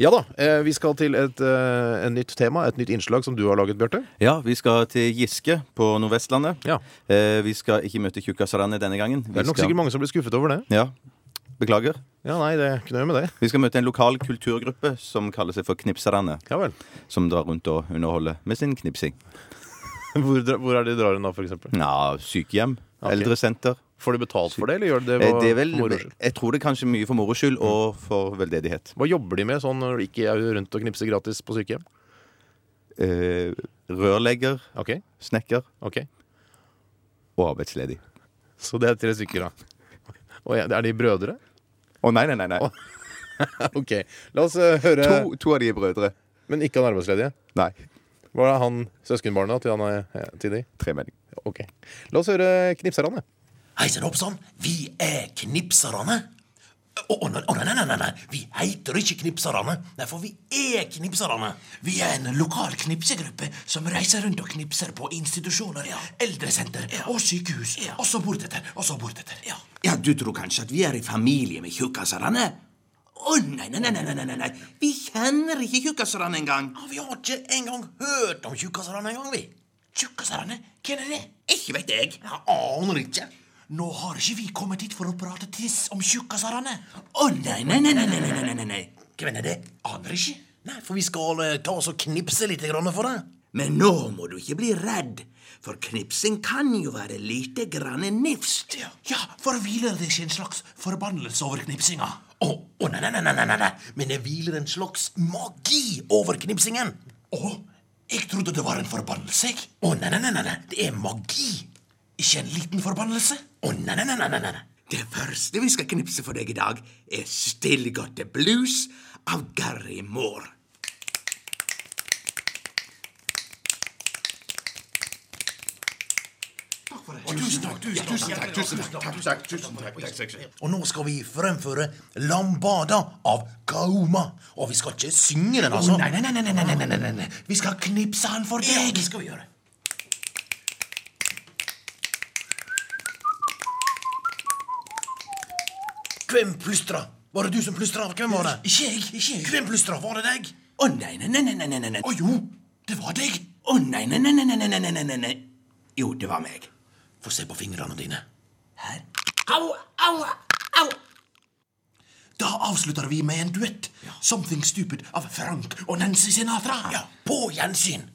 Ja da, eh, vi skal til et eh, en nytt tema, et nytt innslag som du har laget, Bjarte. Ja, vi skal til Giske på Nordvestlandet. Ja. Eh, vi skal ikke møte Tjukkasalandet denne gangen. Vi Det er nok skal- sikkert mange som blir skuffet over det. Ja, beklager. Ja, nei, det kunne jeg med det. Vi skal møte en lokal kulturgruppe som kaller seg for Knipsarandet. Ja vel. Som drar rundt og underholder med sin knipsing. Hvor, dra- hvor er det de drar hen da, for eksempel? Ja, sykehjem, Ok. eldresenter. Får de betalt for det, eller gjør de det Eh, på- det er vel, for moro skyld? Mm. jeg tror det er kanskje mye for moro skyld og for veldedighet. Hva jobber de med sånn når de ikke er rundt og knipser gratis på sykehjem? Eh, rørlegger, Ok, snekker ok. og arbeidsledig. Så det er tre stykker, da. Og ja, er de brødre? Å nei, nei, nei. nei. Å. Ok. La oss eh, høre To, to av de er brødre. Men ikke han arbeidsledige. Nei. Hva er han søskenbarna til, han, er- eh, til de? Tremenning. Ok. La oss høre Knipserne. Hei sann, hopp sann, sånn, vi er knipserne. Å, å, nei, å, nei, nei, nei, nei, vi heiter ikke Knipserne. Nei, for vi er Knipserne. Vi er en lokal knipsegruppe som reiser rundt og knipser på institusjoner, eldresenter og sykehus. Og så bortetter, og så bortetter. Ja. Ja, du tror kanskje at vi er i familie med tjukkaserne? Å nei, nei, nei, nei, nei, nei, nei. Vi kjenner ikke tjukkaserne engang. Vi har ikke engang hørt om Tjukkaserne engang, vi. Tjukkaserne? Hvem er det? Ikke vet jeg. Jeg aner ikke. Nå har ikke vi kommet hit for å prate tiss om tjukkaserne. Å nei, nei, nei, nei, nei, nei, nei, nei, nei. Hvem er det? Aner ikke. Nei, for vi skal eh, ta oss og knipse litt grann for det. Men nå må du ikke bli redd, for knipsing kan jo være lite grann nifst. Ja, for hviler det ikke en slags forbannelse over knipsinga? Å, å, nei, nei, nei, nei, nei, nei, men det hviler en slags magi over knipsingen. Å, jeg trodde det var en forbannelse, jeg. Å, nei, nei, nei, nei, nei, det er magi. Ikke en liten forbannelse. Å, nei, nei, nei, nei, nei, nei. Det første vi skal knipse for deg i dag, er Stillgodte Blues av Gary Moore. Tusen takk, tusen takk, tusen takk, tusen takk, tusen takk, tusen takk, tusen takk. Og nå skal vi fremføre Lambada av Kauma. Og vi skal ikke synge den, altså. nei, nei, nei, nei, nei, nei, nei, nei. Vi skal knipse han for deg. Ja, det skal vi gjøre. Hvem plystra? Var det du som plystra? Hvem var det? Ikke jeg. ikke jeg. Hvem plystra? Var det deg? Å nei, nei, nei, nei, nei, nei, nei, nei. Å jo, det var deg. Å nei, nei, nei, nei, nei, nei, nei, nei, nei, nei. Jo, det var meg. Få se på fingrene dine. Her. Au, au, au! Da avslutter vi med en duett. 'Something Stupid' av Frank og Nancy Sinatra. På gjensyn.